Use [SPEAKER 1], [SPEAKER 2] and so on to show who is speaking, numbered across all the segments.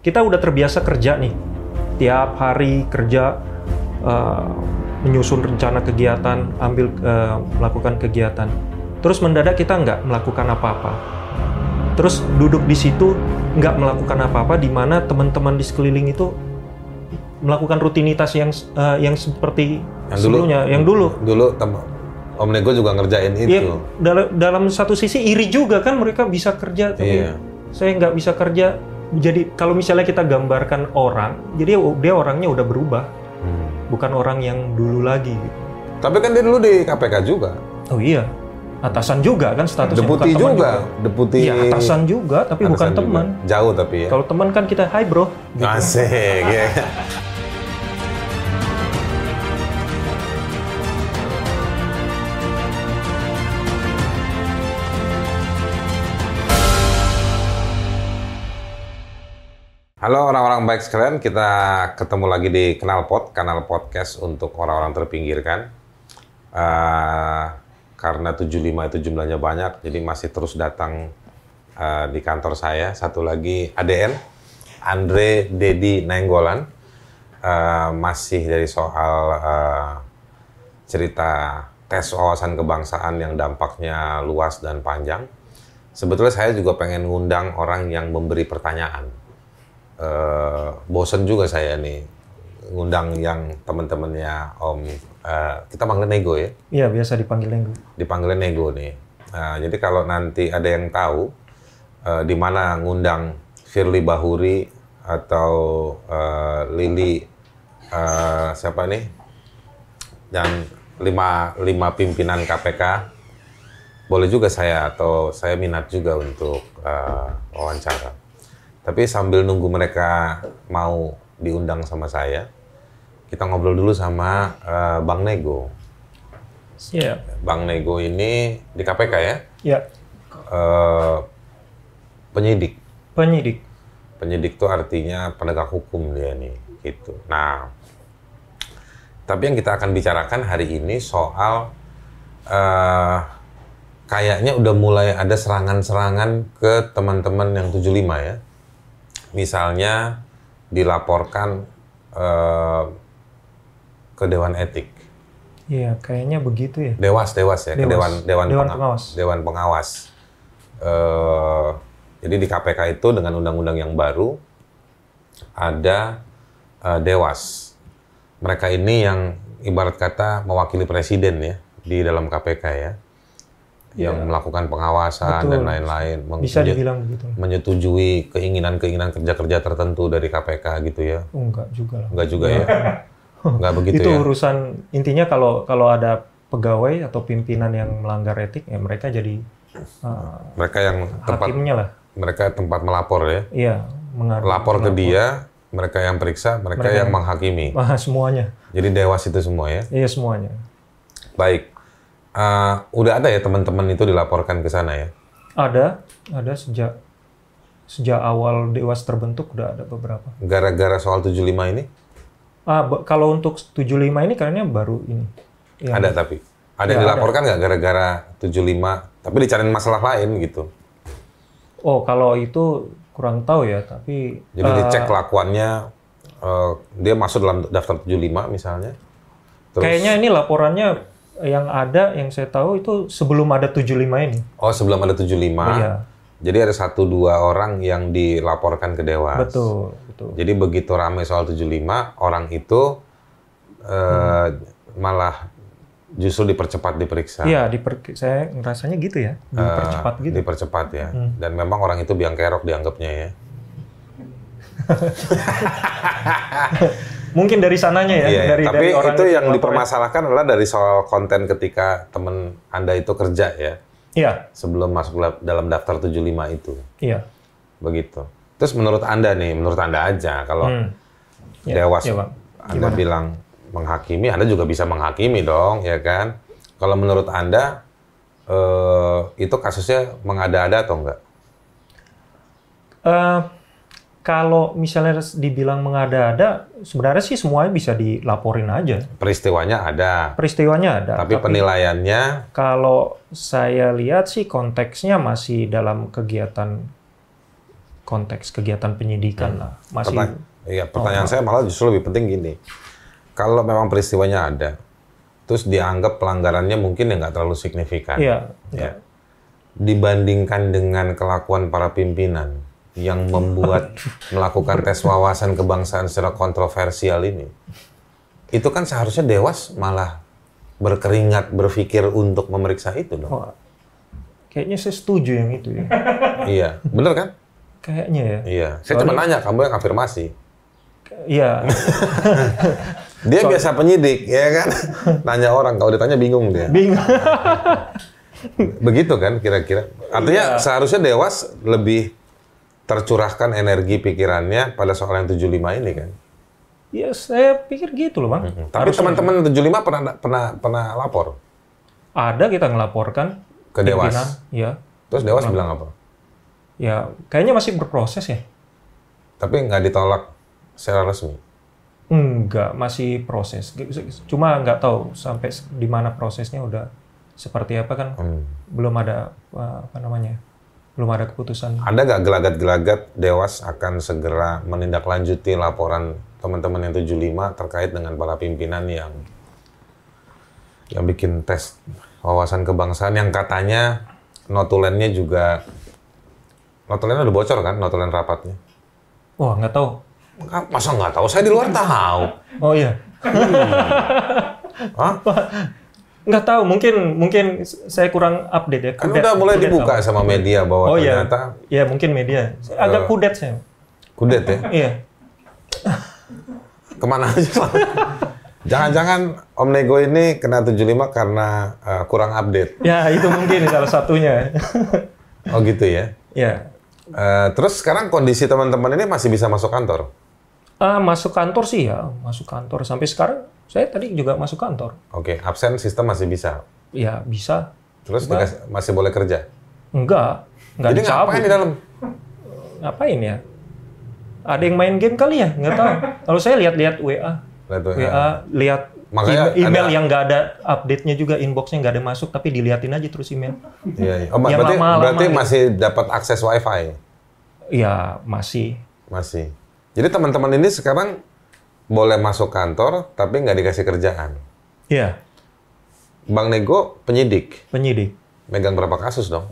[SPEAKER 1] Kita udah terbiasa kerja nih, tiap hari kerja eh, menyusun rencana kegiatan, ambil eh, melakukan kegiatan. Terus mendadak kita nggak melakukan apa-apa. Terus duduk di situ nggak melakukan apa-apa, di mana teman-teman di sekeliling itu melakukan rutinitas yang eh, yang seperti
[SPEAKER 2] Yang dulu.
[SPEAKER 1] sebelumnya, yang dulu.
[SPEAKER 2] Dulu tem- Om Nego juga ngerjain
[SPEAKER 1] Iya,
[SPEAKER 2] itu.
[SPEAKER 1] dalam, dalam satu sisi iri juga kan mereka bisa kerja tapi
[SPEAKER 2] Iya.
[SPEAKER 1] saya nggak bisa kerja. Jadi kalau misalnya kita gambarkan orang, jadi dia orangnya udah berubah,
[SPEAKER 2] Hmm.
[SPEAKER 1] bukan orang yang dulu lagi. gitu.
[SPEAKER 2] Tapi kan dia dulu di KPK juga.
[SPEAKER 1] Oh iya, atasan juga kan statusnya. bukan
[SPEAKER 2] Deputi
[SPEAKER 1] teman
[SPEAKER 2] juga. Deputi.
[SPEAKER 1] Iya atasan juga, tapi bukan
[SPEAKER 2] atasan juga.
[SPEAKER 1] teman.
[SPEAKER 2] Jauh tapi ya.
[SPEAKER 1] Kalau teman kan kita, hai bro. gitu.
[SPEAKER 2] Asik. ya. Halo orang-orang baik sekalian, kita ketemu lagi di Kenalpot, kanal podcast untuk orang-orang terpinggirkan. Eh, karena 75 itu jumlahnya banyak, jadi masih terus datang eh, di kantor saya. Satu lagi ADN, Andre Dedi Nainggolan. Eh, masih dari soal eh, cerita tes wawasan kebangsaan yang dampaknya luas dan panjang. Sebetulnya saya juga pengen ngundang orang yang memberi pertanyaan. Eh, bosen juga saya nih ngundang yang temen-temennya Om. eh, kita manggil Nego ya
[SPEAKER 1] Iya biasa dipanggil Nenggo.
[SPEAKER 2] dipanggilnya nego nih. Nah, jadi kalau nanti ada yang tahu eh, di mana ngundang Firly Bahuri atau eh, Lili eh, siapa nih dan lima lima pimpinan KPK boleh juga saya atau saya minat juga untuk eh, wawancara. Tapi sambil nunggu mereka mau diundang sama saya, kita ngobrol dulu sama eh, Bang Nego.
[SPEAKER 1] Iya.
[SPEAKER 2] Bang Nego ini di KPK ya,
[SPEAKER 1] Iya.
[SPEAKER 2] eh, penyidik.
[SPEAKER 1] Penyidik.
[SPEAKER 2] Penyidik itu artinya penegak hukum dia nih, gitu. Nah, tapi yang kita akan bicarakan hari ini soal eh, kayaknya udah mulai ada serangan-serangan ke teman-teman yang 75 ya. Misalnya dilaporkan eh, ke Dewan Etik.
[SPEAKER 1] Iya kayaknya begitu ya.
[SPEAKER 2] Dewas, dewas ya, ke
[SPEAKER 1] Dewas.
[SPEAKER 2] dewan dewan,
[SPEAKER 1] Dewan
[SPEAKER 2] Penga-
[SPEAKER 1] Pengawas.
[SPEAKER 2] Dewan pengawas. Eh, jadi di KPK itu dengan undang-undang yang baru ada eh, dewas. Mereka ini yang ibarat kata mewakili presiden ya di dalam KPK ya, yang melakukan
[SPEAKER 1] Iya.
[SPEAKER 2] pengawasan dan
[SPEAKER 1] Betul.
[SPEAKER 2] lain-lain, meng-
[SPEAKER 1] Bisa
[SPEAKER 2] menye-
[SPEAKER 1] dibilang begitu.
[SPEAKER 2] menyetujui keinginan-keinginan kerja-kerja tertentu dari KPK gitu ya.
[SPEAKER 1] Oh, enggak juga lah.
[SPEAKER 2] Enggak juga ya, enggak begitu
[SPEAKER 1] itu
[SPEAKER 2] ya.
[SPEAKER 1] urusan intinya kalau kalau ada pegawai atau pimpinan yang melanggar etik ya mereka jadi uh,
[SPEAKER 2] Mereka yang tempat
[SPEAKER 1] hakimnya lah
[SPEAKER 2] mereka tempat melapor ya.
[SPEAKER 1] iya mengaruh
[SPEAKER 2] lapor ke dia, mereka yang periksa, mereka, yang menghakimi.
[SPEAKER 1] Ah, semuanya
[SPEAKER 2] Jadi dewas itu semua ya.
[SPEAKER 1] iya semuanya
[SPEAKER 2] Baik. Eh, udah ada ya teman-teman itu dilaporkan ke sana ya.
[SPEAKER 1] ada ada sejak sejak awal dewas terbentuk udah ada beberapa
[SPEAKER 2] Gara-gara soal 75 ini
[SPEAKER 1] ah ba- kalau untuk 75 ini kayaknya baru ini Iya. Yang-
[SPEAKER 2] ada tapi Iya. ada yang dilaporkan nggak gara-gara 75 tapi dicariin masalah lain gitu.
[SPEAKER 1] oh kalau itu kurang tahu ya tapi
[SPEAKER 2] Jadi dicek kelakuannya eh, dia masuk dalam daftar 75 misalnya. Terus
[SPEAKER 1] kayaknya ini laporannya yang ada yang saya tahu itu sebelum ada 75 ini
[SPEAKER 2] oh sebelum ada 75.
[SPEAKER 1] Iya.
[SPEAKER 2] Jadi ada satu dua orang yang dilaporkan ke dewas.
[SPEAKER 1] betul betul
[SPEAKER 2] Jadi begitu rame soal 75, orang itu eh, malah justru dipercepat diperiksa.
[SPEAKER 1] Iya, diper- saya ngerasanya gitu ya, dipercepat gitu.
[SPEAKER 2] Dipercepat ya. Dan memang orang itu biang kerok dianggapnya ya.
[SPEAKER 1] Mungkin dari sananya ya,
[SPEAKER 2] Iya, iya.
[SPEAKER 1] dari
[SPEAKER 2] Tapi
[SPEAKER 1] dari orang
[SPEAKER 2] itu yang
[SPEAKER 1] laporan.
[SPEAKER 2] dipermasalahkan adalah dari soal konten ketika temen Anda itu kerja ya.
[SPEAKER 1] Iya,
[SPEAKER 2] Sebelum masuk la- dalam daftar 75 itu.
[SPEAKER 1] iya.
[SPEAKER 2] Begitu. Terus menurut Anda nih, menurut Anda aja kalau
[SPEAKER 1] Iya,
[SPEAKER 2] dewas.
[SPEAKER 1] iya, Bang.
[SPEAKER 2] Anda bilang menghakimi, Anda juga bisa menghakimi dong, ya kan? Kalau menurut Anda, eh, itu kasusnya mengada-ada atau enggak?
[SPEAKER 1] Eh, kalau misalnya dibilang mengada-ada, sebenarnya sih semuanya bisa dilaporin aja.
[SPEAKER 2] Peristiwanya ada,
[SPEAKER 1] Peristiwanya ada.
[SPEAKER 2] tapi penilaiannya
[SPEAKER 1] kalau saya lihat sih konteksnya masih dalam kegiatan konteks kegiatan penyidikan
[SPEAKER 2] Hmm.
[SPEAKER 1] lah masih
[SPEAKER 2] Pertanya- iya, pertanyaan saya malah justru lebih penting gini. Kalau memang peristiwanya ada, terus dianggap pelanggarannya mungkin ya nggak terlalu signifikan.
[SPEAKER 1] iya
[SPEAKER 2] Ya. Dibandingkan dengan kelakuan para pimpinan yang membuat melakukan tes wawasan kebangsaan secara kontroversial ini, itu kan seharusnya dewas malah berkeringat berpikir untuk memeriksa itu dong.
[SPEAKER 1] Wah, kayaknya saya setuju yang itu ya
[SPEAKER 2] Iya, bener kan?
[SPEAKER 1] kayaknya ya
[SPEAKER 2] Iya. Saya cuma nanya kamu yang afirmasi.
[SPEAKER 1] iya
[SPEAKER 2] Dia biasa penyidik, ya kan? Nanya orang, kalau ditanya bingung dia.
[SPEAKER 1] bingung
[SPEAKER 2] Begitu kan kira-kira. Artinya seharusnya Dewas lebih tercurahkan energi pikirannya pada soal yang 75 ini kan.
[SPEAKER 1] ya saya pikir gitu loh bang
[SPEAKER 2] Tapi teman-teman 75 pernah pernah pernah lapor
[SPEAKER 1] ada kita ngelaporkan
[SPEAKER 2] ke Dewas.
[SPEAKER 1] pimpinan, ya
[SPEAKER 2] Terus Dewas bilang apa?
[SPEAKER 1] ya kayaknya masih berproses ya
[SPEAKER 2] Tapi nggak ditolak secara resmi.
[SPEAKER 1] Enggak, masih proses. Cuma nggak tahu sampai se- di mana prosesnya udah seperti apa kan
[SPEAKER 2] Hmm.
[SPEAKER 1] belum ada uh, apa namanya? Belum ada keputusan.
[SPEAKER 2] Ada nggak gelagat-gelagat Dewas akan segera menindaklanjuti laporan teman-teman yang 75 terkait dengan para pimpinan yang yang bikin tes wawasan kebangsaan yang katanya notulennya juga notulennya udah bocor kan notulen rapatnya
[SPEAKER 1] Wah, nggak tahu.
[SPEAKER 2] Ah, masa nggak tahu saya di luar tahu
[SPEAKER 1] Oh iya.
[SPEAKER 2] Hah?
[SPEAKER 1] Nggak tahu, mungkin mungkin s- saya kurang update ya.
[SPEAKER 2] kan
[SPEAKER 1] Kudet-
[SPEAKER 2] udah mulai
[SPEAKER 1] kudet
[SPEAKER 2] dibuka
[SPEAKER 1] tahu.
[SPEAKER 2] sama media bahwa
[SPEAKER 1] Oh iya.
[SPEAKER 2] ternyata
[SPEAKER 1] Ya, mungkin media. Agak kudet saya.
[SPEAKER 2] kudet ya
[SPEAKER 1] Iya.
[SPEAKER 2] kemana aja selama- jangan-jangan Om Nego ini kena 75 karena eh, kurang update
[SPEAKER 1] Ya, itu mungkin salah satunya.
[SPEAKER 2] oh gitu ya
[SPEAKER 1] ya.
[SPEAKER 2] Eh, terus sekarang kondisi teman-teman ini masih bisa masuk kantor?
[SPEAKER 1] Ah, masuk kantor sih ya, masuk kantor sampai sekarang saya tadi juga masuk kantor.
[SPEAKER 2] Oke, absen sistem masih bisa.
[SPEAKER 1] Ya, bisa.
[SPEAKER 2] Terus dikas- masih boleh kerja.
[SPEAKER 1] Enggak. Enggak
[SPEAKER 2] Jadi
[SPEAKER 1] dicabut.
[SPEAKER 2] ngapain ya? di dalam?
[SPEAKER 1] ngapain ya? Ada yang main game kali ya? Nggak tahu. Kalau saya lihat-lihat WA,
[SPEAKER 2] Lihat tuh, ya.
[SPEAKER 1] WA, lihat
[SPEAKER 2] Makanya
[SPEAKER 1] email, email
[SPEAKER 2] ada-
[SPEAKER 1] yang nggak ada update-nya juga, inbox-nya nggak ada masuk, tapi diliatin aja terus email.
[SPEAKER 2] Iya, iya. Oh,
[SPEAKER 1] Yang
[SPEAKER 2] berarti
[SPEAKER 1] lama-lama
[SPEAKER 2] berarti
[SPEAKER 1] gitu.
[SPEAKER 2] masih dapat akses WiFi,
[SPEAKER 1] Ya masih.
[SPEAKER 2] masih. Jadi teman-teman ini sekarang boleh masuk kantor, tapi nggak dikasih kerjaan.
[SPEAKER 1] Ya
[SPEAKER 2] Bang Nego penyidik,
[SPEAKER 1] penyidik.
[SPEAKER 2] megang berapa kasus dong?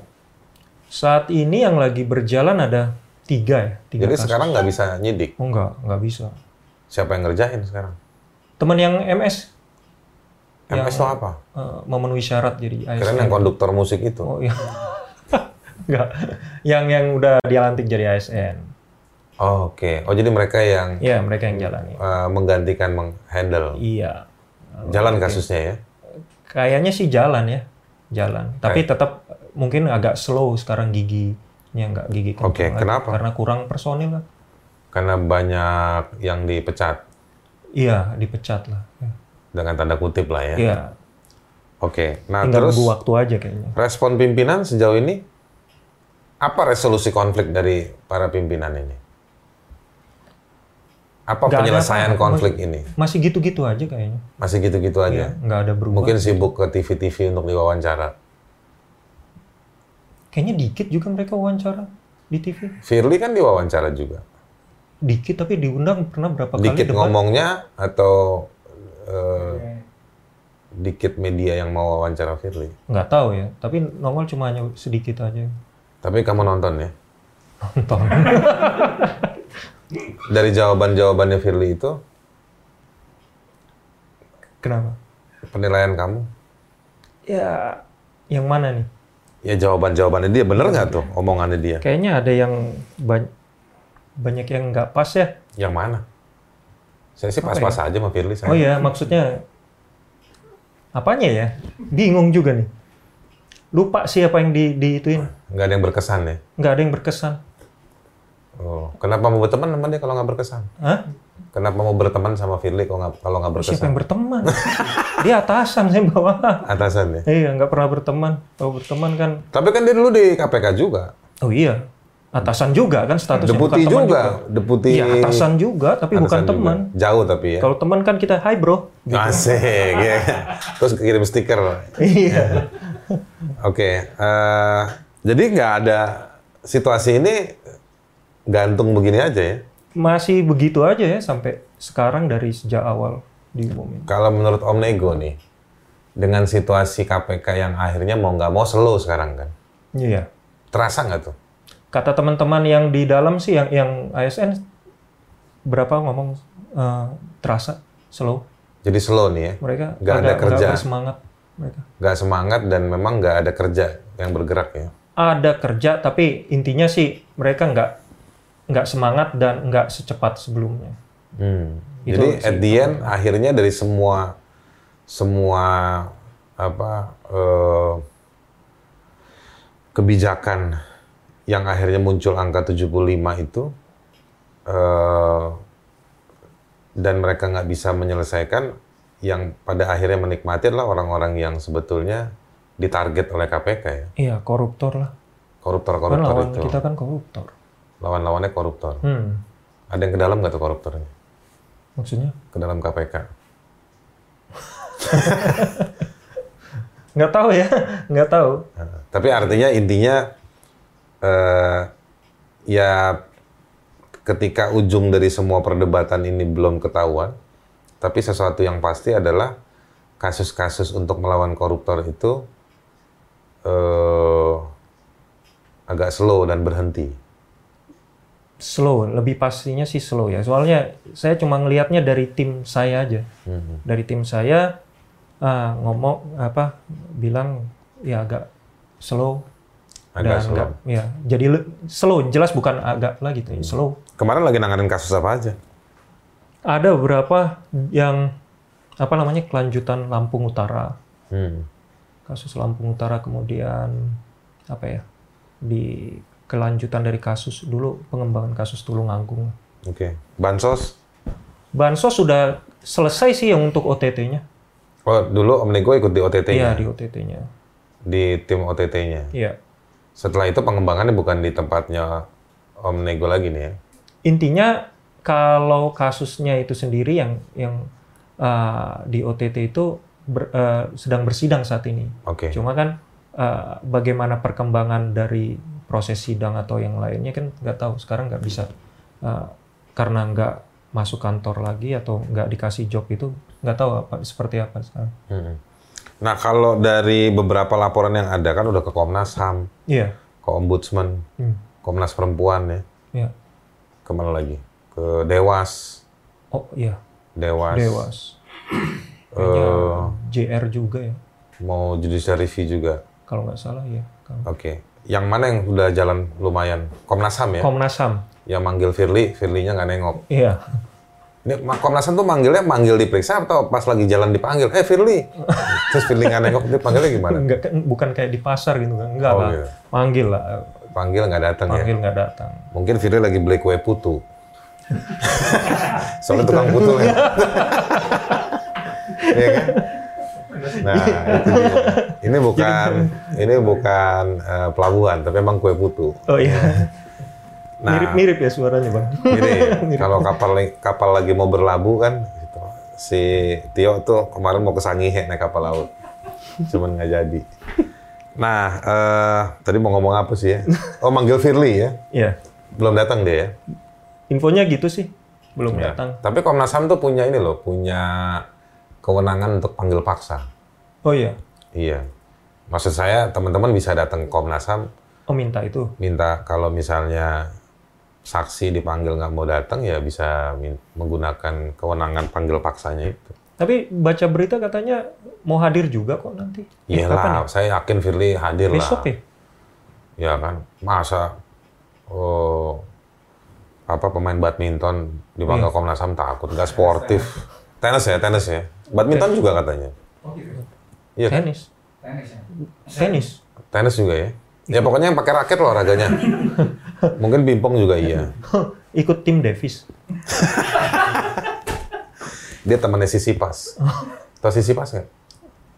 [SPEAKER 1] Saat ini yang lagi berjalan ada tiga ya, tiga
[SPEAKER 2] Jadi
[SPEAKER 1] kasus.
[SPEAKER 2] sekarang nggak bisa nyidik.
[SPEAKER 1] Oh nggak, nggak bisa.
[SPEAKER 2] Siapa yang ngerjain sekarang?
[SPEAKER 1] Teman yang MS
[SPEAKER 2] MS itu apa?
[SPEAKER 1] eh, memenuhi syarat jadi ASN.
[SPEAKER 2] Keren yang konduktor musik itu.
[SPEAKER 1] Oh iya. Nggak. Yang yang udah dilantik jadi ASN.
[SPEAKER 2] Oh, Oke. Oh jadi mereka yang
[SPEAKER 1] Ya mereka yang jalani.
[SPEAKER 2] eh, menggantikan menghandle.
[SPEAKER 1] Iya.
[SPEAKER 2] Jalan kasusnya ya.
[SPEAKER 1] kayaknya sih jalan ya jalan
[SPEAKER 2] Eh.
[SPEAKER 1] tapi tetap mungkin agak slow sekarang giginya nggak gigi kencang
[SPEAKER 2] Oke,
[SPEAKER 1] lagi.
[SPEAKER 2] kenapa?
[SPEAKER 1] karena kurang personil lah
[SPEAKER 2] Karena banyak yang dipecat
[SPEAKER 1] iya dipecat lah ya,
[SPEAKER 2] Eh. dengan tanda kutip lah ya.
[SPEAKER 1] Iya,
[SPEAKER 2] Oke. Nah,
[SPEAKER 1] tinggal
[SPEAKER 2] terus
[SPEAKER 1] nunggu waktu aja kayaknya
[SPEAKER 2] respon pimpinan sejauh ini apa resolusi konflik dari para pimpinan ini? Apa
[SPEAKER 1] Nggak ada
[SPEAKER 2] penyelesaian
[SPEAKER 1] apa-apa.
[SPEAKER 2] konflik ini?
[SPEAKER 1] masih gitu-gitu aja kayaknya
[SPEAKER 2] Masih gitu-gitu
[SPEAKER 1] Iya,
[SPEAKER 2] aja.
[SPEAKER 1] nggak ada berubah
[SPEAKER 2] Mungkin sibuk ke TV-TV untuk diwawancara.
[SPEAKER 1] kayaknya dikit juga mereka wawancara di TV
[SPEAKER 2] Firly kan diwawancara juga.
[SPEAKER 1] dikit tapi diundang pernah berapa kali
[SPEAKER 2] Dikit
[SPEAKER 1] debat
[SPEAKER 2] ngomongnya atau eh, dikit media yang mau wawancara Firly.
[SPEAKER 1] nggak tahu ya tapi nongol cuma hanya sedikit aja
[SPEAKER 2] Tapi kamu nonton ya?
[SPEAKER 1] nonton
[SPEAKER 2] dari jawaban-jawabannya Firly itu
[SPEAKER 1] kenapa
[SPEAKER 2] penilaian kamu
[SPEAKER 1] ya yang mana nih
[SPEAKER 2] ya jawaban-jawabannya dia bener nggak tuh omongannya dia
[SPEAKER 1] kayaknya ada yang ban- banyak yang nggak pas ya
[SPEAKER 2] yang mana saya sih pas-pas aja sama Firly saya
[SPEAKER 1] Oh iya, maksudnya apanya ya? Bingung juga nih. Lupa sih apa yang di, diituin.
[SPEAKER 2] nggak ada yang berkesan ya
[SPEAKER 1] Nggak ada yang berkesan.
[SPEAKER 2] oh kenapa mau berteman sama dia kalau nggak berkesan
[SPEAKER 1] Hah?
[SPEAKER 2] kenapa mau berteman sama Firly kalau nggak kalau nggak
[SPEAKER 1] Siapa
[SPEAKER 2] berkesan
[SPEAKER 1] yang berteman? dia atasan, saya bawahan.
[SPEAKER 2] atasan ya
[SPEAKER 1] Iya, nggak pernah berteman. Kalau berteman kan,
[SPEAKER 2] tapi kan dia dulu di KPK juga
[SPEAKER 1] oh iya, atasan juga kan statusnya.
[SPEAKER 2] deputi
[SPEAKER 1] teman
[SPEAKER 2] juga deputi
[SPEAKER 1] Iya, atasan juga, tapi
[SPEAKER 2] atasan
[SPEAKER 1] bukan
[SPEAKER 2] juga.
[SPEAKER 1] teman.
[SPEAKER 2] jauh tapi ya
[SPEAKER 1] Kalau teman kan kita, hai bro.
[SPEAKER 2] asik ya terus kirim stiker
[SPEAKER 1] Iya.
[SPEAKER 2] Oke, eh, jadi nggak ada situasi ini gantung begini aja ya.
[SPEAKER 1] Masih begitu aja ya sampai sekarang dari sejak awal diumumin.
[SPEAKER 2] Kalau menurut Om Nego nih, dengan situasi KPK yang akhirnya mau nggak mau slow sekarang kan,
[SPEAKER 1] Iya.
[SPEAKER 2] terasa nggak tuh?
[SPEAKER 1] Kata teman-teman yang di dalam sih yang yang ASN berapa ngomong eh, terasa slow.
[SPEAKER 2] Jadi slow nih ya,
[SPEAKER 1] Mereka
[SPEAKER 2] Nggak ada
[SPEAKER 1] agak-
[SPEAKER 2] kerja.
[SPEAKER 1] agak bersemangat mereka.
[SPEAKER 2] nggak semangat dan memang nggak ada kerja yang bergerak ya.
[SPEAKER 1] Ada kerja tapi intinya sih mereka nggak nggak semangat dan nggak secepat sebelumnya.
[SPEAKER 2] Hmm.
[SPEAKER 1] Itu
[SPEAKER 2] Jadi
[SPEAKER 1] sih.
[SPEAKER 2] at the end akhirnya dari semua semua apa eh, kebijakan yang akhirnya muncul angka 75 itu eh, dan mereka nggak bisa menyelesaikan yang pada akhirnya menikmati adalah orang-orang yang sebetulnya ditarget oleh KPK ya
[SPEAKER 1] Iya koruptor lah. Kan
[SPEAKER 2] koruptor-koruptor
[SPEAKER 1] lawan
[SPEAKER 2] itu
[SPEAKER 1] kita kan koruptor.
[SPEAKER 2] lawan-lawannya koruptor
[SPEAKER 1] Hmm.
[SPEAKER 2] ada yang ke dalam nggak tuh koruptornya
[SPEAKER 1] Maksudnya?
[SPEAKER 2] ke dalam KPK
[SPEAKER 1] Nggak tahu ya, nggak tahu.
[SPEAKER 2] Nah, Tapi artinya intinya eh, ya ketika ujung dari semua perdebatan ini belum ketahuan, tapi sesuatu yang pasti adalah kasus-kasus untuk melawan koruptor itu eh, agak slow dan berhenti.
[SPEAKER 1] Slow, lebih pastinya sih slow ya. Soalnya saya cuma ngelihatnya dari tim saya aja. Dari tim saya ah, ngomong apa bilang ya agak slow
[SPEAKER 2] Agak slow.
[SPEAKER 1] nggak- ya jadi le- slow jelas bukan agak lah gitu
[SPEAKER 2] Hmm.
[SPEAKER 1] slow
[SPEAKER 2] Kemarin lagi nanganin kasus apa aja?
[SPEAKER 1] ada beberapa yang apa namanya kelanjutan Lampung Utara
[SPEAKER 2] Hmm.
[SPEAKER 1] kasus Lampung Utara kemudian apa ya di kelanjutan dari kasus dulu pengembangan kasus Tulungagung.
[SPEAKER 2] Oke. Bansos?
[SPEAKER 1] Bansos sudah selesai sih yang untuk OTT-nya.
[SPEAKER 2] Oh, dulu Om Nego ikut di
[SPEAKER 1] Iya
[SPEAKER 2] OTT-nya,
[SPEAKER 1] di OTT-nya.
[SPEAKER 2] di tim OTT-nya.
[SPEAKER 1] Iya.
[SPEAKER 2] Setelah itu pengembangannya bukan di tempatnya Om Nego lagi nih ya?
[SPEAKER 1] Intinya kalau kasusnya itu sendiri yang yang uh, di OTT itu ber- uh, sedang bersidang saat ini.
[SPEAKER 2] Oke.
[SPEAKER 1] Cuma kan uh, bagaimana perkembangan dari proses sidang atau yang lainnya kan nggak tahu. Sekarang nggak bisa uh, karena nggak masuk kantor lagi atau nggak dikasih job itu nggak tahu apa seperti apa sekarang.
[SPEAKER 2] Mm-mm. Nah kalau dari beberapa laporan yang ada kan udah ke Komnas Ham,
[SPEAKER 1] Iya,
[SPEAKER 2] ke Ombudsman,
[SPEAKER 1] Hmm.
[SPEAKER 2] Komnas Perempuan ya,
[SPEAKER 1] iya.
[SPEAKER 2] kemana lagi? Ke Dewas,
[SPEAKER 1] Oh iya,
[SPEAKER 2] Dewas,
[SPEAKER 1] Dewas. Kayaknya
[SPEAKER 2] Eh.
[SPEAKER 1] JR juga ya,
[SPEAKER 2] mau judicial review juga.
[SPEAKER 1] kalau nggak salah ya. Kalau-
[SPEAKER 2] Oke. Yang mana yang udah jalan lumayan? Komnas Ham ya,
[SPEAKER 1] Komnas Ham.
[SPEAKER 2] yang manggil Firly, Firly-nya nggak nengok.
[SPEAKER 1] Iya.
[SPEAKER 2] Ini Ma- Komnas Ham tuh manggilnya manggil diperiksa atau pas lagi jalan dipanggil, eh Firly, terus Firly nggak nengok, dia panggilnya gimana?
[SPEAKER 1] Enggak kan bukan kayak di pasar gitu kan. Enggak
[SPEAKER 2] Oh,
[SPEAKER 1] lah.
[SPEAKER 2] iya.
[SPEAKER 1] Manggil lah.
[SPEAKER 2] Panggil nggak datang ya?
[SPEAKER 1] Panggil nggak datang.
[SPEAKER 2] Mungkin Firly lagi beli kue putu. Soalnya tukang putu ya. Iya kan? Nah, itu dia. Ini bukan ini bukan eh, pelabuhan, tapi emang kue putu.
[SPEAKER 1] Oh iya.
[SPEAKER 2] Nah.
[SPEAKER 1] Mirip-mirip ya suaranya, Bang.
[SPEAKER 2] Jadi kalau kapal kapal lagi mau berlabuh kan gitu. Si Tio tuh kemarin mau ke Sangihe naik kapal laut. Cuman nggak jadi. Nah, eh, tadi mau ngomong apa sih ya? Oh, manggil Firly ya.
[SPEAKER 1] Iya.
[SPEAKER 2] Belum datang dia ya.
[SPEAKER 1] Infonya gitu sih. Belum
[SPEAKER 2] Ya.
[SPEAKER 1] datang.
[SPEAKER 2] Tapi Komnas HAM tuh punya ini loh, punya kewenangan untuk panggil paksa.
[SPEAKER 1] Oh iya.
[SPEAKER 2] Iya. Maksud saya teman-teman bisa datang ke Komnas HAM
[SPEAKER 1] Oh minta itu.
[SPEAKER 2] minta kalau misalnya saksi dipanggil nggak mau datang ya bisa min- menggunakan kewenangan panggil paksanya itu.
[SPEAKER 1] Tapi baca berita katanya mau hadir juga kok nanti. Eh, kapan ya?
[SPEAKER 2] Iyalah, saya yakin Firly hadir lah.
[SPEAKER 1] Besok ya?
[SPEAKER 2] Ya kan, masa oh, apa pemain badminton dipanggil
[SPEAKER 1] Iya.
[SPEAKER 2] Komnas HAM takut nggak sportif. tenis ya, tenis ya.
[SPEAKER 1] Iya.
[SPEAKER 2] Badminton juga katanya.
[SPEAKER 3] Oh gitu.
[SPEAKER 2] Iya.
[SPEAKER 1] Tenis.
[SPEAKER 3] Tenis ya.
[SPEAKER 1] Tenis.
[SPEAKER 2] Tenis juga ya? Ya pokoknya yang pakai raket loh olahraganya. Mungkin pingpong juga iya.
[SPEAKER 1] Ikut tim Davis.
[SPEAKER 2] Dia temannya Sisipas. Tahu Sisipas nggak?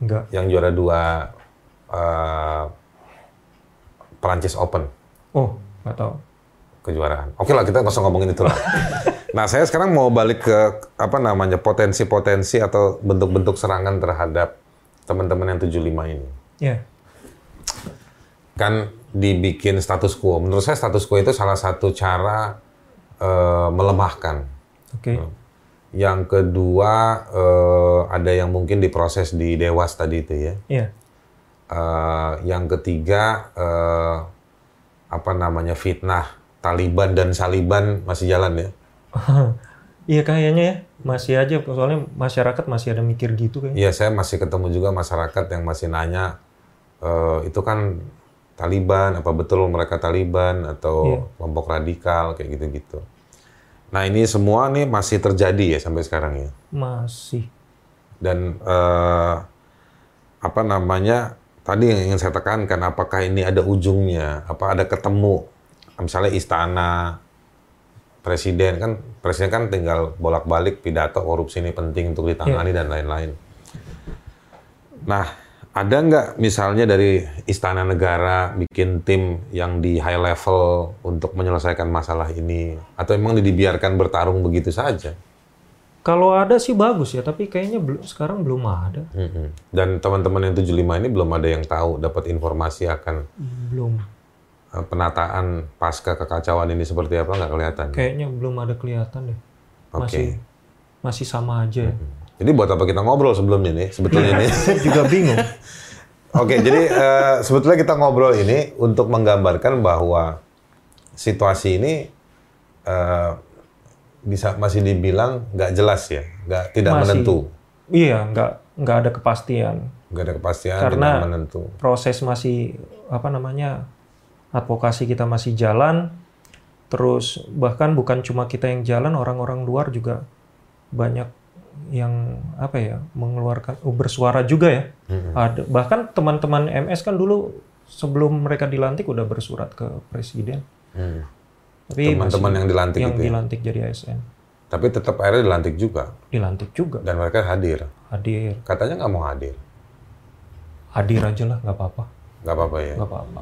[SPEAKER 1] Enggak.
[SPEAKER 2] Yang juara dua eh, Perancis Open
[SPEAKER 1] Oh, nggak tahu.
[SPEAKER 2] kejuaraan. Oke lah kita nggak usah ngomongin itu lah. nah saya sekarang mau balik ke apa namanya potensi-potensi atau bentuk-bentuk serangan terhadap teman-teman yang 75 ini.
[SPEAKER 1] Iya.
[SPEAKER 2] Kan dibikin status quo. Menurut saya status quo itu salah satu cara eh, melemahkan.
[SPEAKER 1] Oke.
[SPEAKER 2] Yang kedua eh, ada yang mungkin diproses di Dewas tadi itu ya.
[SPEAKER 1] Iya.
[SPEAKER 2] Eh, yang ketiga eh, apa namanya fitnah Taliban dan Saliban masih jalan ya.
[SPEAKER 1] Iya kayaknya ya masih aja soalnya masyarakat masih ada mikir gitu kayaknya.
[SPEAKER 2] Iya saya masih ketemu juga masyarakat yang masih nanya eh, itu kan Taliban apa betul mereka Taliban atau kelompok radikal kayak gitu-gitu. Nah ini semua nih masih terjadi ya sampai sekarang ya.
[SPEAKER 1] Masih.
[SPEAKER 2] dan eh, apa namanya tadi yang ingin saya tekankan apakah ini ada ujungnya apa ada ketemu misalnya istana presiden kan presiden kan tinggal bolak-balik pidato korupsi ini penting untuk ditangani dan lain-lain nah ada nggak misalnya dari istana negara bikin tim yang di high level untuk menyelesaikan masalah ini atau emang dibiarkan bertarung begitu saja
[SPEAKER 1] Kalau ada sih bagus ya, tapi kayaknya belum sekarang belum ada.
[SPEAKER 2] Mm-mm. Dan teman-teman yang 75 ini belum ada yang tahu dapat informasi akan
[SPEAKER 1] Belum.
[SPEAKER 2] eh, penataan pasca kekacauan ini seperti apa nggak kelihatan.
[SPEAKER 1] Kayaknya belum ada kelihatan deh. Masih masih sama aja. ya.
[SPEAKER 2] Jadi buat apa kita ngobrol sebelumnya nih sebetulnya nih.
[SPEAKER 1] Saya juga bingung.
[SPEAKER 2] Oke, jadi eh, sebetulnya kita ngobrol ini untuk menggambarkan bahwa situasi ini eh, bisa masih dibilang nggak jelas ya, nggak tidak
[SPEAKER 1] Masih.
[SPEAKER 2] menentu,
[SPEAKER 1] iya, nggak nggak ada kepastian.
[SPEAKER 2] nggak ada kepastian,
[SPEAKER 1] Karena-
[SPEAKER 2] tidak menentu.
[SPEAKER 1] Proses masih apa namanya advokasi kita masih jalan. Terus bahkan bukan cuma kita yang jalan, orang-orang luar juga banyak yang apa ya mengeluarkan oh, bersuara juga ya.
[SPEAKER 2] Mm-mm.
[SPEAKER 1] Ada bahkan teman-teman MS kan dulu sebelum mereka dilantik udah bersurat ke presiden.
[SPEAKER 2] Mm.
[SPEAKER 1] Tapi
[SPEAKER 2] Teman-teman yang dilantik
[SPEAKER 1] Iya, yang
[SPEAKER 2] itu, ya.
[SPEAKER 1] dilantik jadi ASN
[SPEAKER 2] tapi tetap akhirnya dilantik juga
[SPEAKER 1] dilantik juga
[SPEAKER 2] dan mereka hadir.
[SPEAKER 1] hadir
[SPEAKER 2] Katanya nggak mau hadir.
[SPEAKER 1] hadir aja lah nggak apa-apa
[SPEAKER 2] Nggak apa-apa ya.
[SPEAKER 1] nggak apa-apa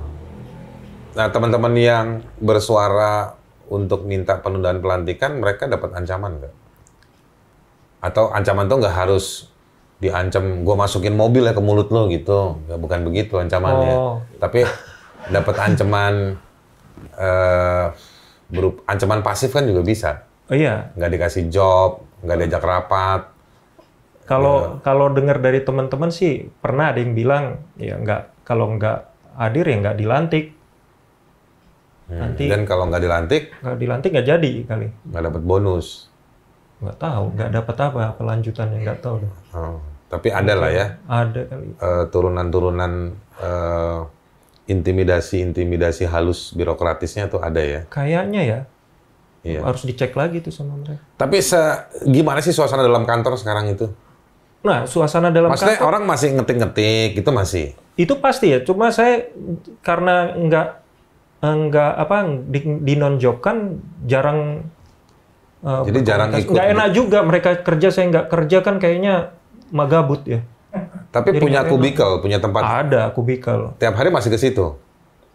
[SPEAKER 2] Nah, teman-teman yang bersuara untuk minta penundaan pelantikan, mereka dapat ancaman nggak? Atau ancaman tuh nggak harus diancam, gue masukin mobil ya ke mulut lo gitu. Ya, bukan begitu ancamannya.
[SPEAKER 1] Oh.
[SPEAKER 2] Tapi dapat ancaman eh berup- ancaman pasif kan juga bisa.
[SPEAKER 1] oh iya
[SPEAKER 2] Nggak dikasih job, nggak diajak rapat. Ya.
[SPEAKER 1] kalau kalau dengar dari teman-teman sih pernah ada yang bilang ya nggak kalau nggak hadir ya nggak dilantik
[SPEAKER 2] Hmm,
[SPEAKER 1] Nanti-
[SPEAKER 2] Dan kalau nggak dilantik,
[SPEAKER 1] nggak dilantik nggak jadi kali
[SPEAKER 2] nggak dapat bonus.
[SPEAKER 1] nggak tahu nggak dapat apa pelanjutannya nggak tahu deh
[SPEAKER 2] Oh, Tapi ada lah ya.
[SPEAKER 1] ada kali
[SPEAKER 2] eh, turunan-turunan eh, intimidasi-intimidasi halus birokratisnya tuh ada ya.
[SPEAKER 1] kayaknya ya
[SPEAKER 2] Iya.
[SPEAKER 1] harus dicek lagi tuh sama mereka
[SPEAKER 2] Tapi se- gimana sih suasana dalam kantor sekarang itu?
[SPEAKER 1] nah suasana dalam
[SPEAKER 2] Maksudnya orang masih ngetik-ngetik itu masih.
[SPEAKER 1] itu pasti ya cuma saya karena nggak nggak apa di, non job kan jarang uh,
[SPEAKER 2] Jadi jarang
[SPEAKER 1] berkomunikasi.
[SPEAKER 2] ikut
[SPEAKER 1] nggak
[SPEAKER 2] gitu.
[SPEAKER 1] enak juga mereka kerja saya nggak kerja kan kayaknya magabut ya
[SPEAKER 2] Tapi punya kubikel, punya tempat.
[SPEAKER 1] ada kubikel
[SPEAKER 2] Tiap hari masih ke situ.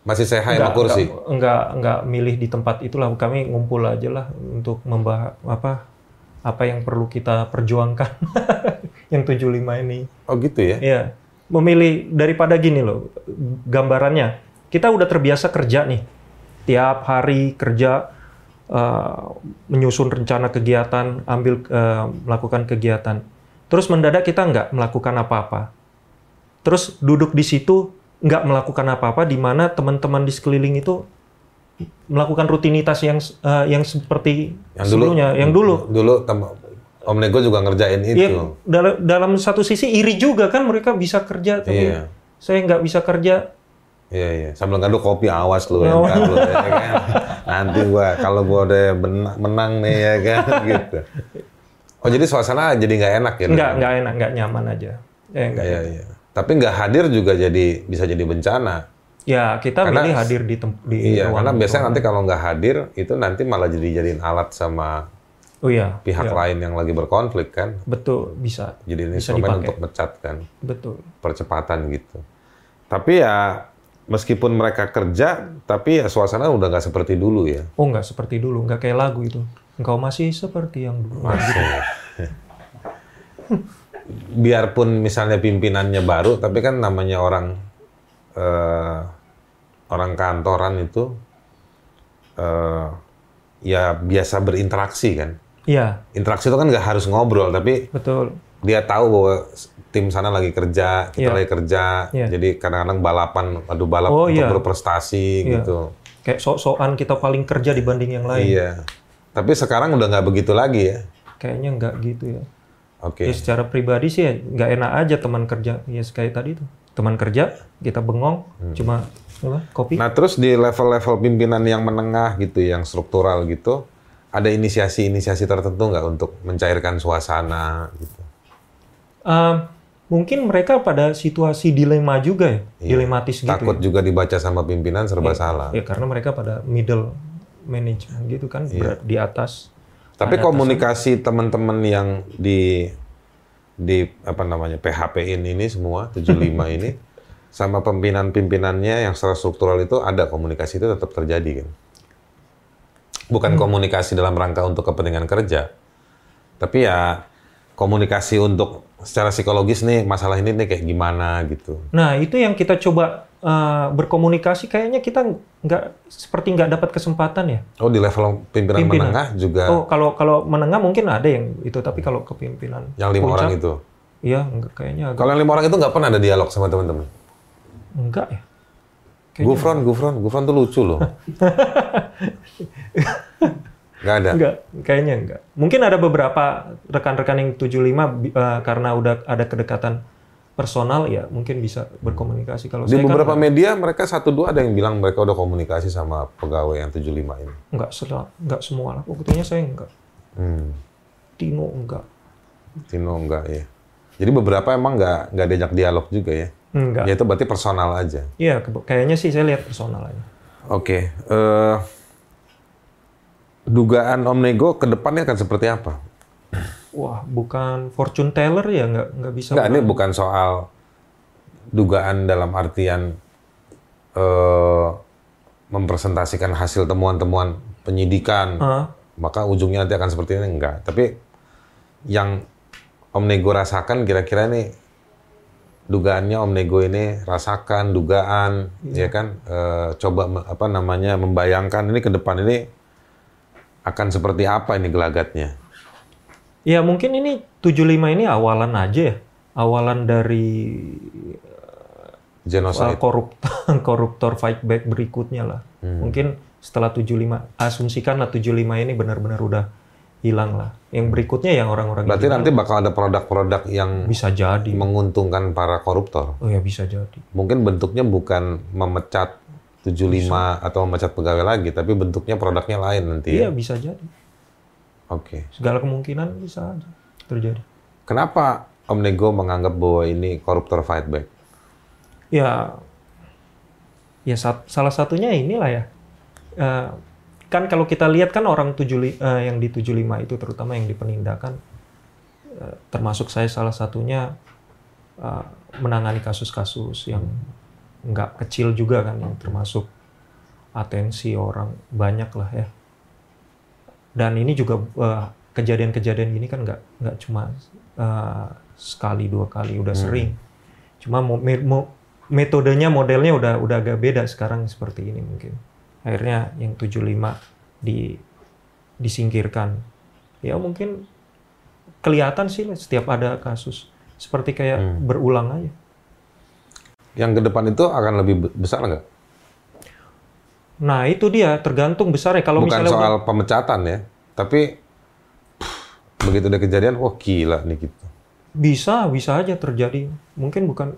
[SPEAKER 2] Masih sehat sama
[SPEAKER 1] nggak
[SPEAKER 2] kursi.
[SPEAKER 1] nggak- nggak nggak milih di tempat itulah kami ngumpul aja lah untuk membahas apa apa yang perlu kita perjuangkan yang 75 ini
[SPEAKER 2] Oh gitu ya.
[SPEAKER 1] Iya, memilih daripada gini loh gambarannya. Kita udah terbiasa kerja nih, tiap hari kerja eh, menyusun rencana kegiatan, ambil eh, melakukan kegiatan. Terus mendadak kita nggak melakukan apa-apa. Terus duduk di situ nggak melakukan apa-apa, di mana teman-teman di sekeliling itu melakukan rutinitas yang eh, yang seperti
[SPEAKER 2] Yang dulu.
[SPEAKER 1] sebelumnya, yang dulu.
[SPEAKER 2] Dulu tem- Om Nego juga ngerjain
[SPEAKER 1] Iya,
[SPEAKER 2] itu.
[SPEAKER 1] dalam, dalam satu sisi iri juga kan mereka bisa kerja, tapi
[SPEAKER 2] Iya.
[SPEAKER 1] saya nggak bisa kerja.
[SPEAKER 2] Iya iya, sambil ngaduk kopi awas lu ya,
[SPEAKER 1] Awas.
[SPEAKER 2] ntar lu, ya kan. Nanti gua kalau gua udah bena- menang nih ya kan gitu. Oh jadi suasana jadi nggak enak ya?
[SPEAKER 1] Nggak, nggak enak, nggak nyaman aja. Eh, nggak.
[SPEAKER 2] Iya iya. Tapi nggak hadir juga jadi bisa jadi bencana.
[SPEAKER 1] Ya, kita
[SPEAKER 2] Karena-
[SPEAKER 1] milih hadir di tem- di
[SPEAKER 2] Iya,
[SPEAKER 1] ruang-
[SPEAKER 2] karena biasanya nanti kalau nggak hadir itu nanti malah jadi jadiin alat sama
[SPEAKER 1] Oh iya,
[SPEAKER 2] pihak
[SPEAKER 1] iya.
[SPEAKER 2] lain yang lagi berkonflik kan.
[SPEAKER 1] Betul, bisa.
[SPEAKER 2] Jadi
[SPEAKER 1] Bisa
[SPEAKER 2] instrumen
[SPEAKER 1] dipakai.
[SPEAKER 2] untuk mecat kan.
[SPEAKER 1] Betul.
[SPEAKER 2] percepatan gitu. Tapi ya meskipun mereka kerja, tapi ya suasana udah nggak seperti dulu ya.
[SPEAKER 1] Oh, nggak seperti dulu, nggak kayak lagu itu. Engkau masih seperti yang dulu.
[SPEAKER 2] Biarpun misalnya pimpinannya baru, tapi kan namanya orang eh, orang kantoran itu eh, ya biasa berinteraksi kan.
[SPEAKER 1] Iya,
[SPEAKER 2] Interaksi itu kan nggak harus ngobrol, tapi
[SPEAKER 1] betul.
[SPEAKER 2] dia tahu bahwa s- tim sana lagi kerja, kita
[SPEAKER 1] Iya.
[SPEAKER 2] lagi kerja.
[SPEAKER 1] Iya.
[SPEAKER 2] Jadi kadang-kadang balapan, aduh balap
[SPEAKER 1] Oh, iya.
[SPEAKER 2] untuk berprestasi
[SPEAKER 1] Iya.
[SPEAKER 2] gitu.
[SPEAKER 1] Kayak sok-sokan kita paling kerja dibanding yang lain.
[SPEAKER 2] Iya. Tapi sekarang udah nggak begitu lagi ya.
[SPEAKER 1] Kayaknya nggak gitu ya.
[SPEAKER 2] Oke.
[SPEAKER 1] Ya secara pribadi sih ya nggak enak aja teman kerja. Ya kayak tadi tuh. Teman kerja, kita bengong,
[SPEAKER 2] Hmm.
[SPEAKER 1] cuma apa, kopi.
[SPEAKER 2] Nah terus di level-level pimpinan yang menengah gitu, yang struktural gitu, ada inisiasi-inisiasi tertentu nggak untuk mencairkan suasana gitu?
[SPEAKER 1] Eh, mungkin mereka pada situasi dilema juga ya, dilematis gitu.
[SPEAKER 2] Iya, Takut juga dibaca sama pimpinan serba salah.
[SPEAKER 1] Ya karena mereka pada middle management gitu kan, berat di atas.
[SPEAKER 2] Iya. Tapi komunikasi teman-teman yang di di apa namanya PHP in ini semua 75 ini sama pimpinan-pimpinannya yang secara struktural itu ada komunikasi itu tetap terjadi kan.
[SPEAKER 1] Hmm.
[SPEAKER 2] Bukan komunikasi dalam rangka untuk kepentingan kerja. Tapi ya komunikasi untuk secara psikologis nih masalah ini nih kayak gimana gitu.
[SPEAKER 1] Nah itu yang kita coba eh, berkomunikasi, kayaknya kita nggak seperti nggak dapat kesempatan ya.
[SPEAKER 2] Oh di level pimpinan,
[SPEAKER 1] Pimpinan.
[SPEAKER 2] menengah juga
[SPEAKER 1] Oh kalau kalau menengah mungkin ada yang itu, tapi kalau kepimpinan,
[SPEAKER 2] yang lima orang itu.
[SPEAKER 1] ya nggak- kayaknya agak
[SPEAKER 2] Kalau yang lima orang itu nggak pernah ada dialog sama teman-teman.
[SPEAKER 1] enggak ya. Kayaknya
[SPEAKER 2] Gufron, Gufron, Gufron tuh lucu loh. Gak ada.
[SPEAKER 1] Enggak, kayaknya enggak. Mungkin ada beberapa rekan-rekan yang 75 bi- eh, karena udah ada kedekatan personal ya mungkin bisa berkomunikasi kalau
[SPEAKER 2] Di
[SPEAKER 1] saya
[SPEAKER 2] beberapa
[SPEAKER 1] kan
[SPEAKER 2] media mereka satu dua ada yang bilang mereka udah komunikasi sama pegawai yang 75 ini.
[SPEAKER 1] enggak sel- enggak semua lah. Buktinya saya enggak.
[SPEAKER 2] Hmm,
[SPEAKER 1] Tino enggak.
[SPEAKER 2] Tino enggak ya. Jadi beberapa emang nggak nggak diajak dialog juga ya.
[SPEAKER 1] Enggak.
[SPEAKER 2] Ya itu berarti personal aja.
[SPEAKER 1] Iya, ke- kayaknya sih saya lihat personal aja.
[SPEAKER 2] Oke. eh, dugaan Om Nego ke depannya akan seperti apa?
[SPEAKER 1] Wah, bukan fortune teller ya enggak enggak bisa.
[SPEAKER 2] Enggak, ini bukan soal dugaan dalam artian eh, mempresentasikan hasil temuan-temuan penyidikan.
[SPEAKER 1] Ah,
[SPEAKER 2] Maka ujungnya nanti akan seperti ini enggak. Tapi yang Om Nego rasakan kira-kira ini dugaannya Om Nego ini rasakan dugaan ya kan Eh, coba me- apa namanya membayangkan ini ke depan ini akan seperti apa ini gelagatnya.
[SPEAKER 1] Ya mungkin ini 75 ini awalan aja ya. Awalan dari
[SPEAKER 2] Genosida.
[SPEAKER 1] soal koruptor, koruptor fight back berikutnya lah. Mungkin setelah 75, asumsikanlah 75 ini benar-benar udah hilang lah. Yang berikutnya yang orang-orang
[SPEAKER 2] Berarti
[SPEAKER 1] itu
[SPEAKER 2] nanti bakal ada produk-produk yang
[SPEAKER 1] bisa jadi.
[SPEAKER 2] menguntungkan para koruptor.
[SPEAKER 1] Oh ya bisa jadi.
[SPEAKER 2] Mungkin bentuknya bukan memecat 75 atau memecat pegawai lagi, tapi bentuknya produknya lain nanti. ya?
[SPEAKER 1] Iya bisa jadi.
[SPEAKER 2] Oke.
[SPEAKER 1] Segala kemungkinan bisa aja terjadi.
[SPEAKER 2] Kenapa Om Nego menganggap bahwa ini koruptor fight back?
[SPEAKER 1] Ya, ya sat- salah satunya inilah ya. Eh, kan kalau kita lihat kan orang 75 eh, yang di 75 itu terutama yang di penindakan eh, termasuk saya salah satunya eh, menangani kasus-kasus yang nggak kecil juga kan yang termasuk atensi orang banyak lah ya dan ini juga eh, kejadian-kejadian gini kan nggak nggak cuma eh, sekali dua kali udah sering cuma mo- me- mo- metodenya modelnya udah udah agak beda sekarang seperti ini mungkin akhirnya yang 75 di disingkirkan ya mungkin kelihatan sih setiap ada kasus seperti kayak
[SPEAKER 2] Hmm.
[SPEAKER 1] berulang aja
[SPEAKER 2] Yang ke depan itu akan lebih be- besar nggak?
[SPEAKER 1] nah itu dia tergantung besarnya kalau
[SPEAKER 2] Bukan
[SPEAKER 1] misalnya
[SPEAKER 2] soal pemecatan ya, tapi pff, begitu ada kejadian, wah gila nih gitu.
[SPEAKER 1] bisa bisa aja terjadi mungkin bukan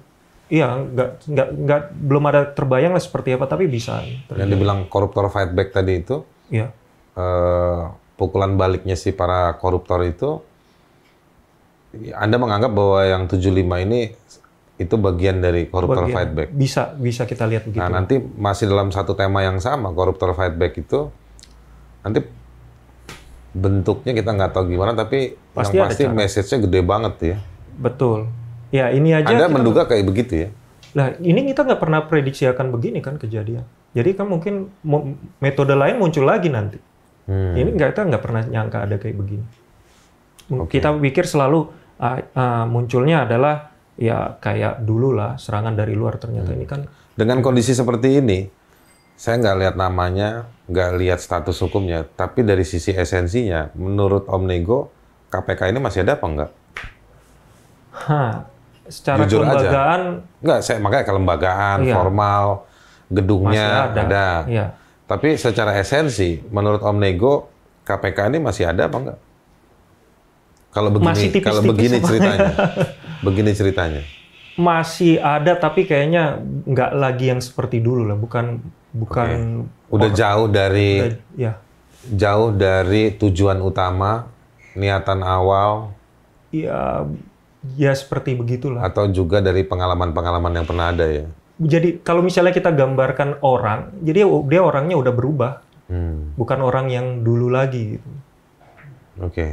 [SPEAKER 1] iya nggak nggak nggak belum ada terbayang lah seperti apa tapi bisa
[SPEAKER 2] Yang dibilang koruptor fight back tadi itu,
[SPEAKER 1] ya
[SPEAKER 2] eh, pukulan baliknya si para koruptor itu Anda menganggap bahwa yang 75 ini itu bagian dari koruptor fight back.
[SPEAKER 1] bisa bisa kita lihat begitu
[SPEAKER 2] Nah, nanti masih dalam satu tema yang sama koruptor fight back itu nanti bentuknya kita nggak tahu gimana tapi
[SPEAKER 1] Pasti
[SPEAKER 2] yang
[SPEAKER 1] ada
[SPEAKER 2] pasti message-nya gede banget ya.
[SPEAKER 1] betul ya ini aja
[SPEAKER 2] Anda
[SPEAKER 1] kita-
[SPEAKER 2] menduga kayak begitu ya.
[SPEAKER 1] Nah, ini kita nggak pernah prediksi akan begini kan kejadian. Jadi kan mungkin mo- metode lain muncul lagi nanti.
[SPEAKER 2] Hmm.
[SPEAKER 1] Ini nggak kita nggak pernah nyangka ada kayak begini. M- Kita pikir selalu ah, ah, munculnya adalah
[SPEAKER 2] Hmm.
[SPEAKER 1] ya kayak dulu lah serangan dari luar ternyata ini kan
[SPEAKER 2] Dengan kondisi seperti ini, Saya nggak lihat namanya, nggak lihat status hukumnya, tapi dari sisi esensinya, menurut Om Nego, KPK ini masih ada apa nggak?
[SPEAKER 1] Hah, secara
[SPEAKER 2] Jujur aja.
[SPEAKER 1] kelembagaan
[SPEAKER 2] Nggak, saya makanya kelembagaan,
[SPEAKER 1] Iya.
[SPEAKER 2] formal,
[SPEAKER 1] masih
[SPEAKER 2] gedungnya
[SPEAKER 1] ada.
[SPEAKER 2] ada.
[SPEAKER 1] Iya.
[SPEAKER 2] Tapi secara esensi, menurut Om Nego, KPK ini masih ada apa nggak? Kalau begini,
[SPEAKER 1] Masih tipis-tipis
[SPEAKER 2] kalau begini
[SPEAKER 1] sama-
[SPEAKER 2] ceritanya, begini ceritanya.
[SPEAKER 1] Masih ada tapi kayaknya nggak lagi yang seperti dulu lah, bukan bukan
[SPEAKER 2] Udah jauh dari
[SPEAKER 1] Oh. udah- ya.
[SPEAKER 2] jauh dari tujuan utama, niatan awal,
[SPEAKER 1] Ya ya seperti begitulah.
[SPEAKER 2] atau juga dari pengalaman-pengalaman yang pernah ada ya.
[SPEAKER 1] Jadi kalau misalnya kita gambarkan orang, jadi dia orangnya udah berubah,
[SPEAKER 2] Hmm,
[SPEAKER 1] bukan orang yang dulu lagi gitu.
[SPEAKER 2] oke.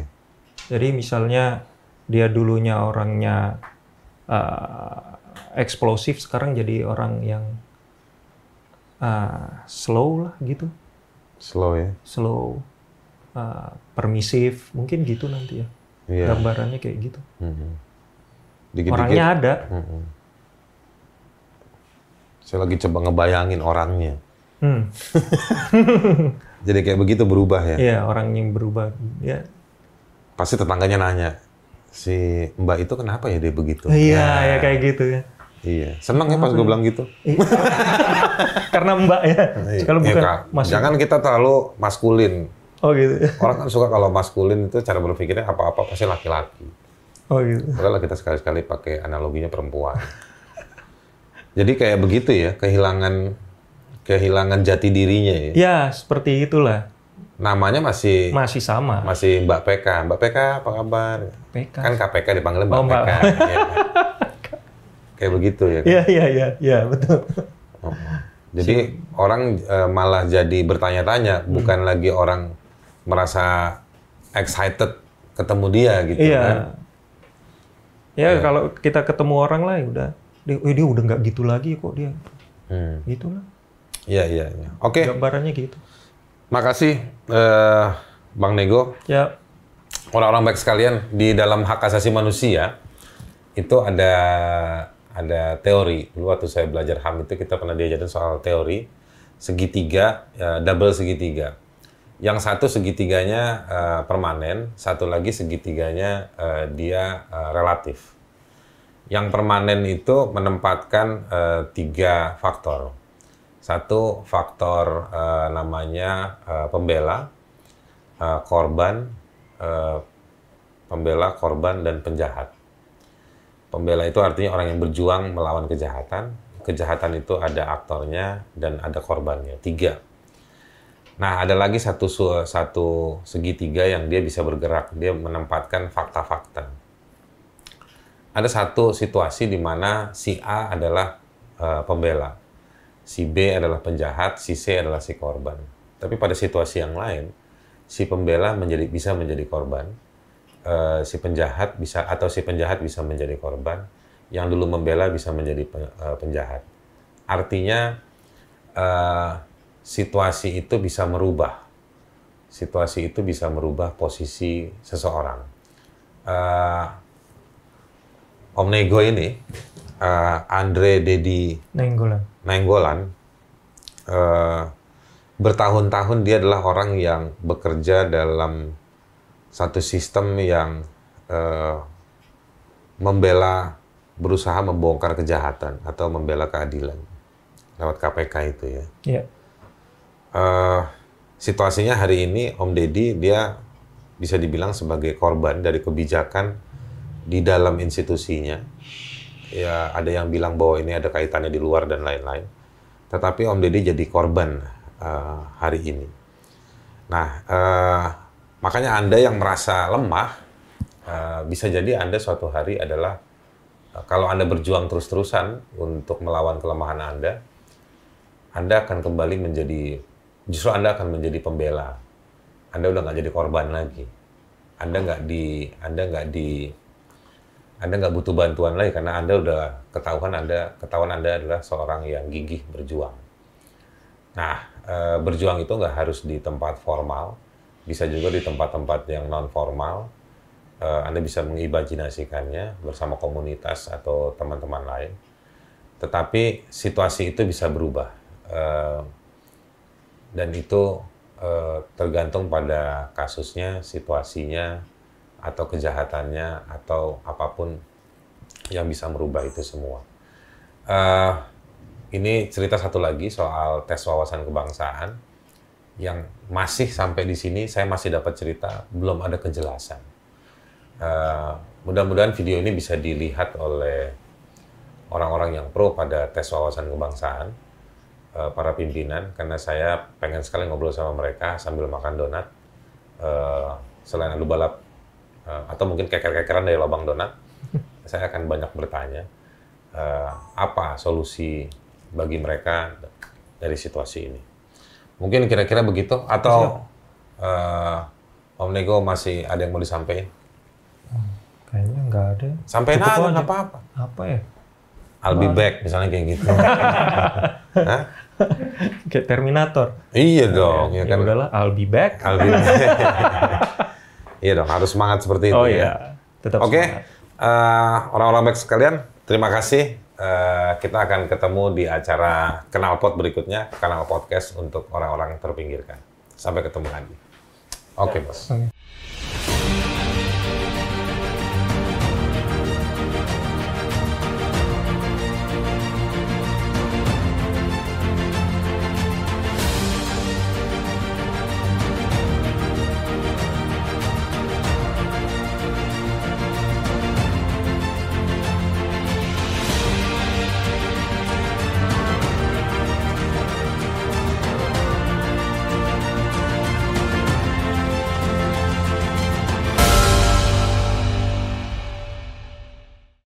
[SPEAKER 1] Jadi misalnya dia dulunya orangnya uh, eksplosif, sekarang jadi orang yang uh, slow lah gitu,
[SPEAKER 2] Slow ya.
[SPEAKER 1] slow, uh, permisif, mungkin gitu nanti ya.
[SPEAKER 2] Iya.
[SPEAKER 1] Gambarannya kayak gitu.
[SPEAKER 2] Mhm. Dikit-dikit.
[SPEAKER 1] Orangnya ada.
[SPEAKER 2] Mhm. Saya lagi coba ngebayangin orangnya.
[SPEAKER 1] Hmm.
[SPEAKER 2] Jadi kayak begitu berubah ya.
[SPEAKER 1] Iya, orang yang berubah. Ya.
[SPEAKER 2] Pasti tetangganya nanya, si Mbak itu kenapa ya dia begitu?
[SPEAKER 1] Iya,
[SPEAKER 2] Nah,
[SPEAKER 1] ya kayak gitu ya.
[SPEAKER 2] Iya. Seneng ya pas gue bilang gitu.
[SPEAKER 1] Iya. Karena Mbak ya. Kalau
[SPEAKER 2] Iya,
[SPEAKER 1] bukan
[SPEAKER 2] Kak.
[SPEAKER 1] Mas.
[SPEAKER 2] Jangan kita terlalu maskulin.
[SPEAKER 1] Oh gitu.
[SPEAKER 2] Orang kan suka kalau maskulin itu cara berpikirnya apa-apa pasti laki-laki.
[SPEAKER 1] Oh gitu.
[SPEAKER 2] Padahal kita sekali-sekali pakai analoginya perempuan. Jadi kayak begitu ya, kehilangan kehilangan jati dirinya ya.
[SPEAKER 1] Ya, seperti itulah.
[SPEAKER 2] Namanya masih
[SPEAKER 1] Masih sama.
[SPEAKER 2] masih Mbak PK. Mbak PK apa kabar?
[SPEAKER 1] PK.
[SPEAKER 2] Kan KPK dipanggil Mbak
[SPEAKER 1] Oh, Mbak.
[SPEAKER 2] PK. ya. Kayak begitu ya. kan?
[SPEAKER 1] Iya, iya, iya, iya, betul.
[SPEAKER 2] Oh. Jadi orang eh, malah jadi
[SPEAKER 1] Hmm.
[SPEAKER 2] bertanya-tanya, bukan lagi orang merasa excited ketemu dia gitu kan.
[SPEAKER 1] Iya.
[SPEAKER 2] Iya.
[SPEAKER 1] Ya, kalau kita ketemu orang lah ya udah dia, "Eh, dia udah nggak gitu lagi kok dia.
[SPEAKER 2] Hmm.
[SPEAKER 1] Gitu lah.
[SPEAKER 2] Iya, iya, iya. Oke,
[SPEAKER 1] Gambarannya gitu.
[SPEAKER 2] makasih eh, Bang Nego.
[SPEAKER 1] Ya,
[SPEAKER 2] orang-orang baik sekalian di dalam hak asasi manusia itu ada ada teori dulu waktu saya belajar ham itu kita pernah diajarin soal teori segitiga eh, double segitiga yang satu segitiganya eh, permanen satu lagi segitiganya eh, dia eh, relatif yang permanen itu menempatkan eh, tiga faktor satu faktor eh, namanya eh, pembela eh, korban, eh, pembela korban dan penjahat. Pembela itu artinya orang yang berjuang melawan kejahatan. Kejahatan itu ada aktornya dan ada korbannya tiga. Nah ada lagi satu su- satu segitiga yang dia bisa bergerak. Dia menempatkan fakta-fakta. Ada satu situasi di mana si A adalah eh, pembela, si B adalah penjahat, si C adalah si korban. Tapi pada situasi yang lain, si pembela menjadi bisa menjadi korban, eh, si penjahat bisa atau si penjahat bisa menjadi korban, yang dulu membela bisa menjadi pe- eh, penjahat. Artinya eh, situasi itu bisa merubah, situasi itu bisa merubah posisi seseorang. Eh, Om Nego ini, eh, Andre Dedi
[SPEAKER 1] nenggolan.
[SPEAKER 2] Nainggolan eh, bertahun-tahun dia adalah orang yang bekerja dalam satu sistem yang eh, membela berusaha membongkar kejahatan atau membela keadilan lewat KPK itu ya.
[SPEAKER 1] Iya.
[SPEAKER 2] Eh, situasinya hari ini Om Deddy dia bisa dibilang sebagai korban dari kebijakan di dalam institusinya. Ya ada yang bilang bahwa ini ada kaitannya di luar dan lain-lain. Tetapi Om Deddy jadi korban eh, hari ini. Nah eh, makanya anda yang merasa lemah eh, bisa jadi anda suatu hari adalah eh, kalau anda berjuang terus-terusan untuk melawan kelemahan anda, anda akan kembali menjadi justru Anda akan menjadi pembela. Anda udah nggak jadi korban lagi. Anda nggak di Anda nggak di Anda nggak butuh bantuan lagi karena Anda udah ketahuan Anda ketahuan Anda adalah seorang yang gigih berjuang. Nah, eh, berjuang itu nggak harus di tempat formal, bisa juga di tempat-tempat yang non formal. Eh, Anda bisa mengimajinasikannya bersama komunitas atau teman-teman lain tetapi situasi itu bisa berubah. Eh, dan itu eh, tergantung pada kasusnya, situasinya, atau kejahatannya, atau apapun yang bisa merubah itu semua. Eh, ini cerita satu lagi soal tes wawasan kebangsaan yang masih sampai di sini saya masih dapat cerita belum ada kejelasan. Eh, Mudah-mudahan video ini bisa dilihat oleh orang-orang yang pro pada tes wawasan kebangsaan eh, para pimpinan karena saya pengen sekali ngobrol sama mereka sambil makan donat eh, selain adu balap eh, atau mungkin keker-kekeran dari lubang donat saya akan banyak bertanya eh, apa solusi bagi mereka dari situasi ini mungkin kira-kira begitu atau eh, Om Nego masih ada yang mau disampaikan
[SPEAKER 1] Kayaknya nggak ada.
[SPEAKER 2] sampaikan
[SPEAKER 1] Cukup
[SPEAKER 2] aja
[SPEAKER 1] aja.
[SPEAKER 2] nggak apa-apa
[SPEAKER 1] Apa ya?
[SPEAKER 2] I'll be back misalnya kayak gitu Hah?
[SPEAKER 1] Kayak Terminator.
[SPEAKER 2] iya dong ya
[SPEAKER 1] Ya,
[SPEAKER 2] kan
[SPEAKER 1] udahlah, I'll be back.
[SPEAKER 2] Alvin. iya dong, harus semangat seperti itu.
[SPEAKER 1] Oh
[SPEAKER 2] ya.
[SPEAKER 1] iya, tetap
[SPEAKER 2] Oke,
[SPEAKER 1] semangat.
[SPEAKER 2] eh, orang-orang baik sekalian, terima kasih. Eh, kita akan ketemu di acara Kenalpot berikutnya, Kanal Podcast untuk orang-orang terpinggirkan. Sampai ketemu lagi. Oke, Bos.
[SPEAKER 1] Oke.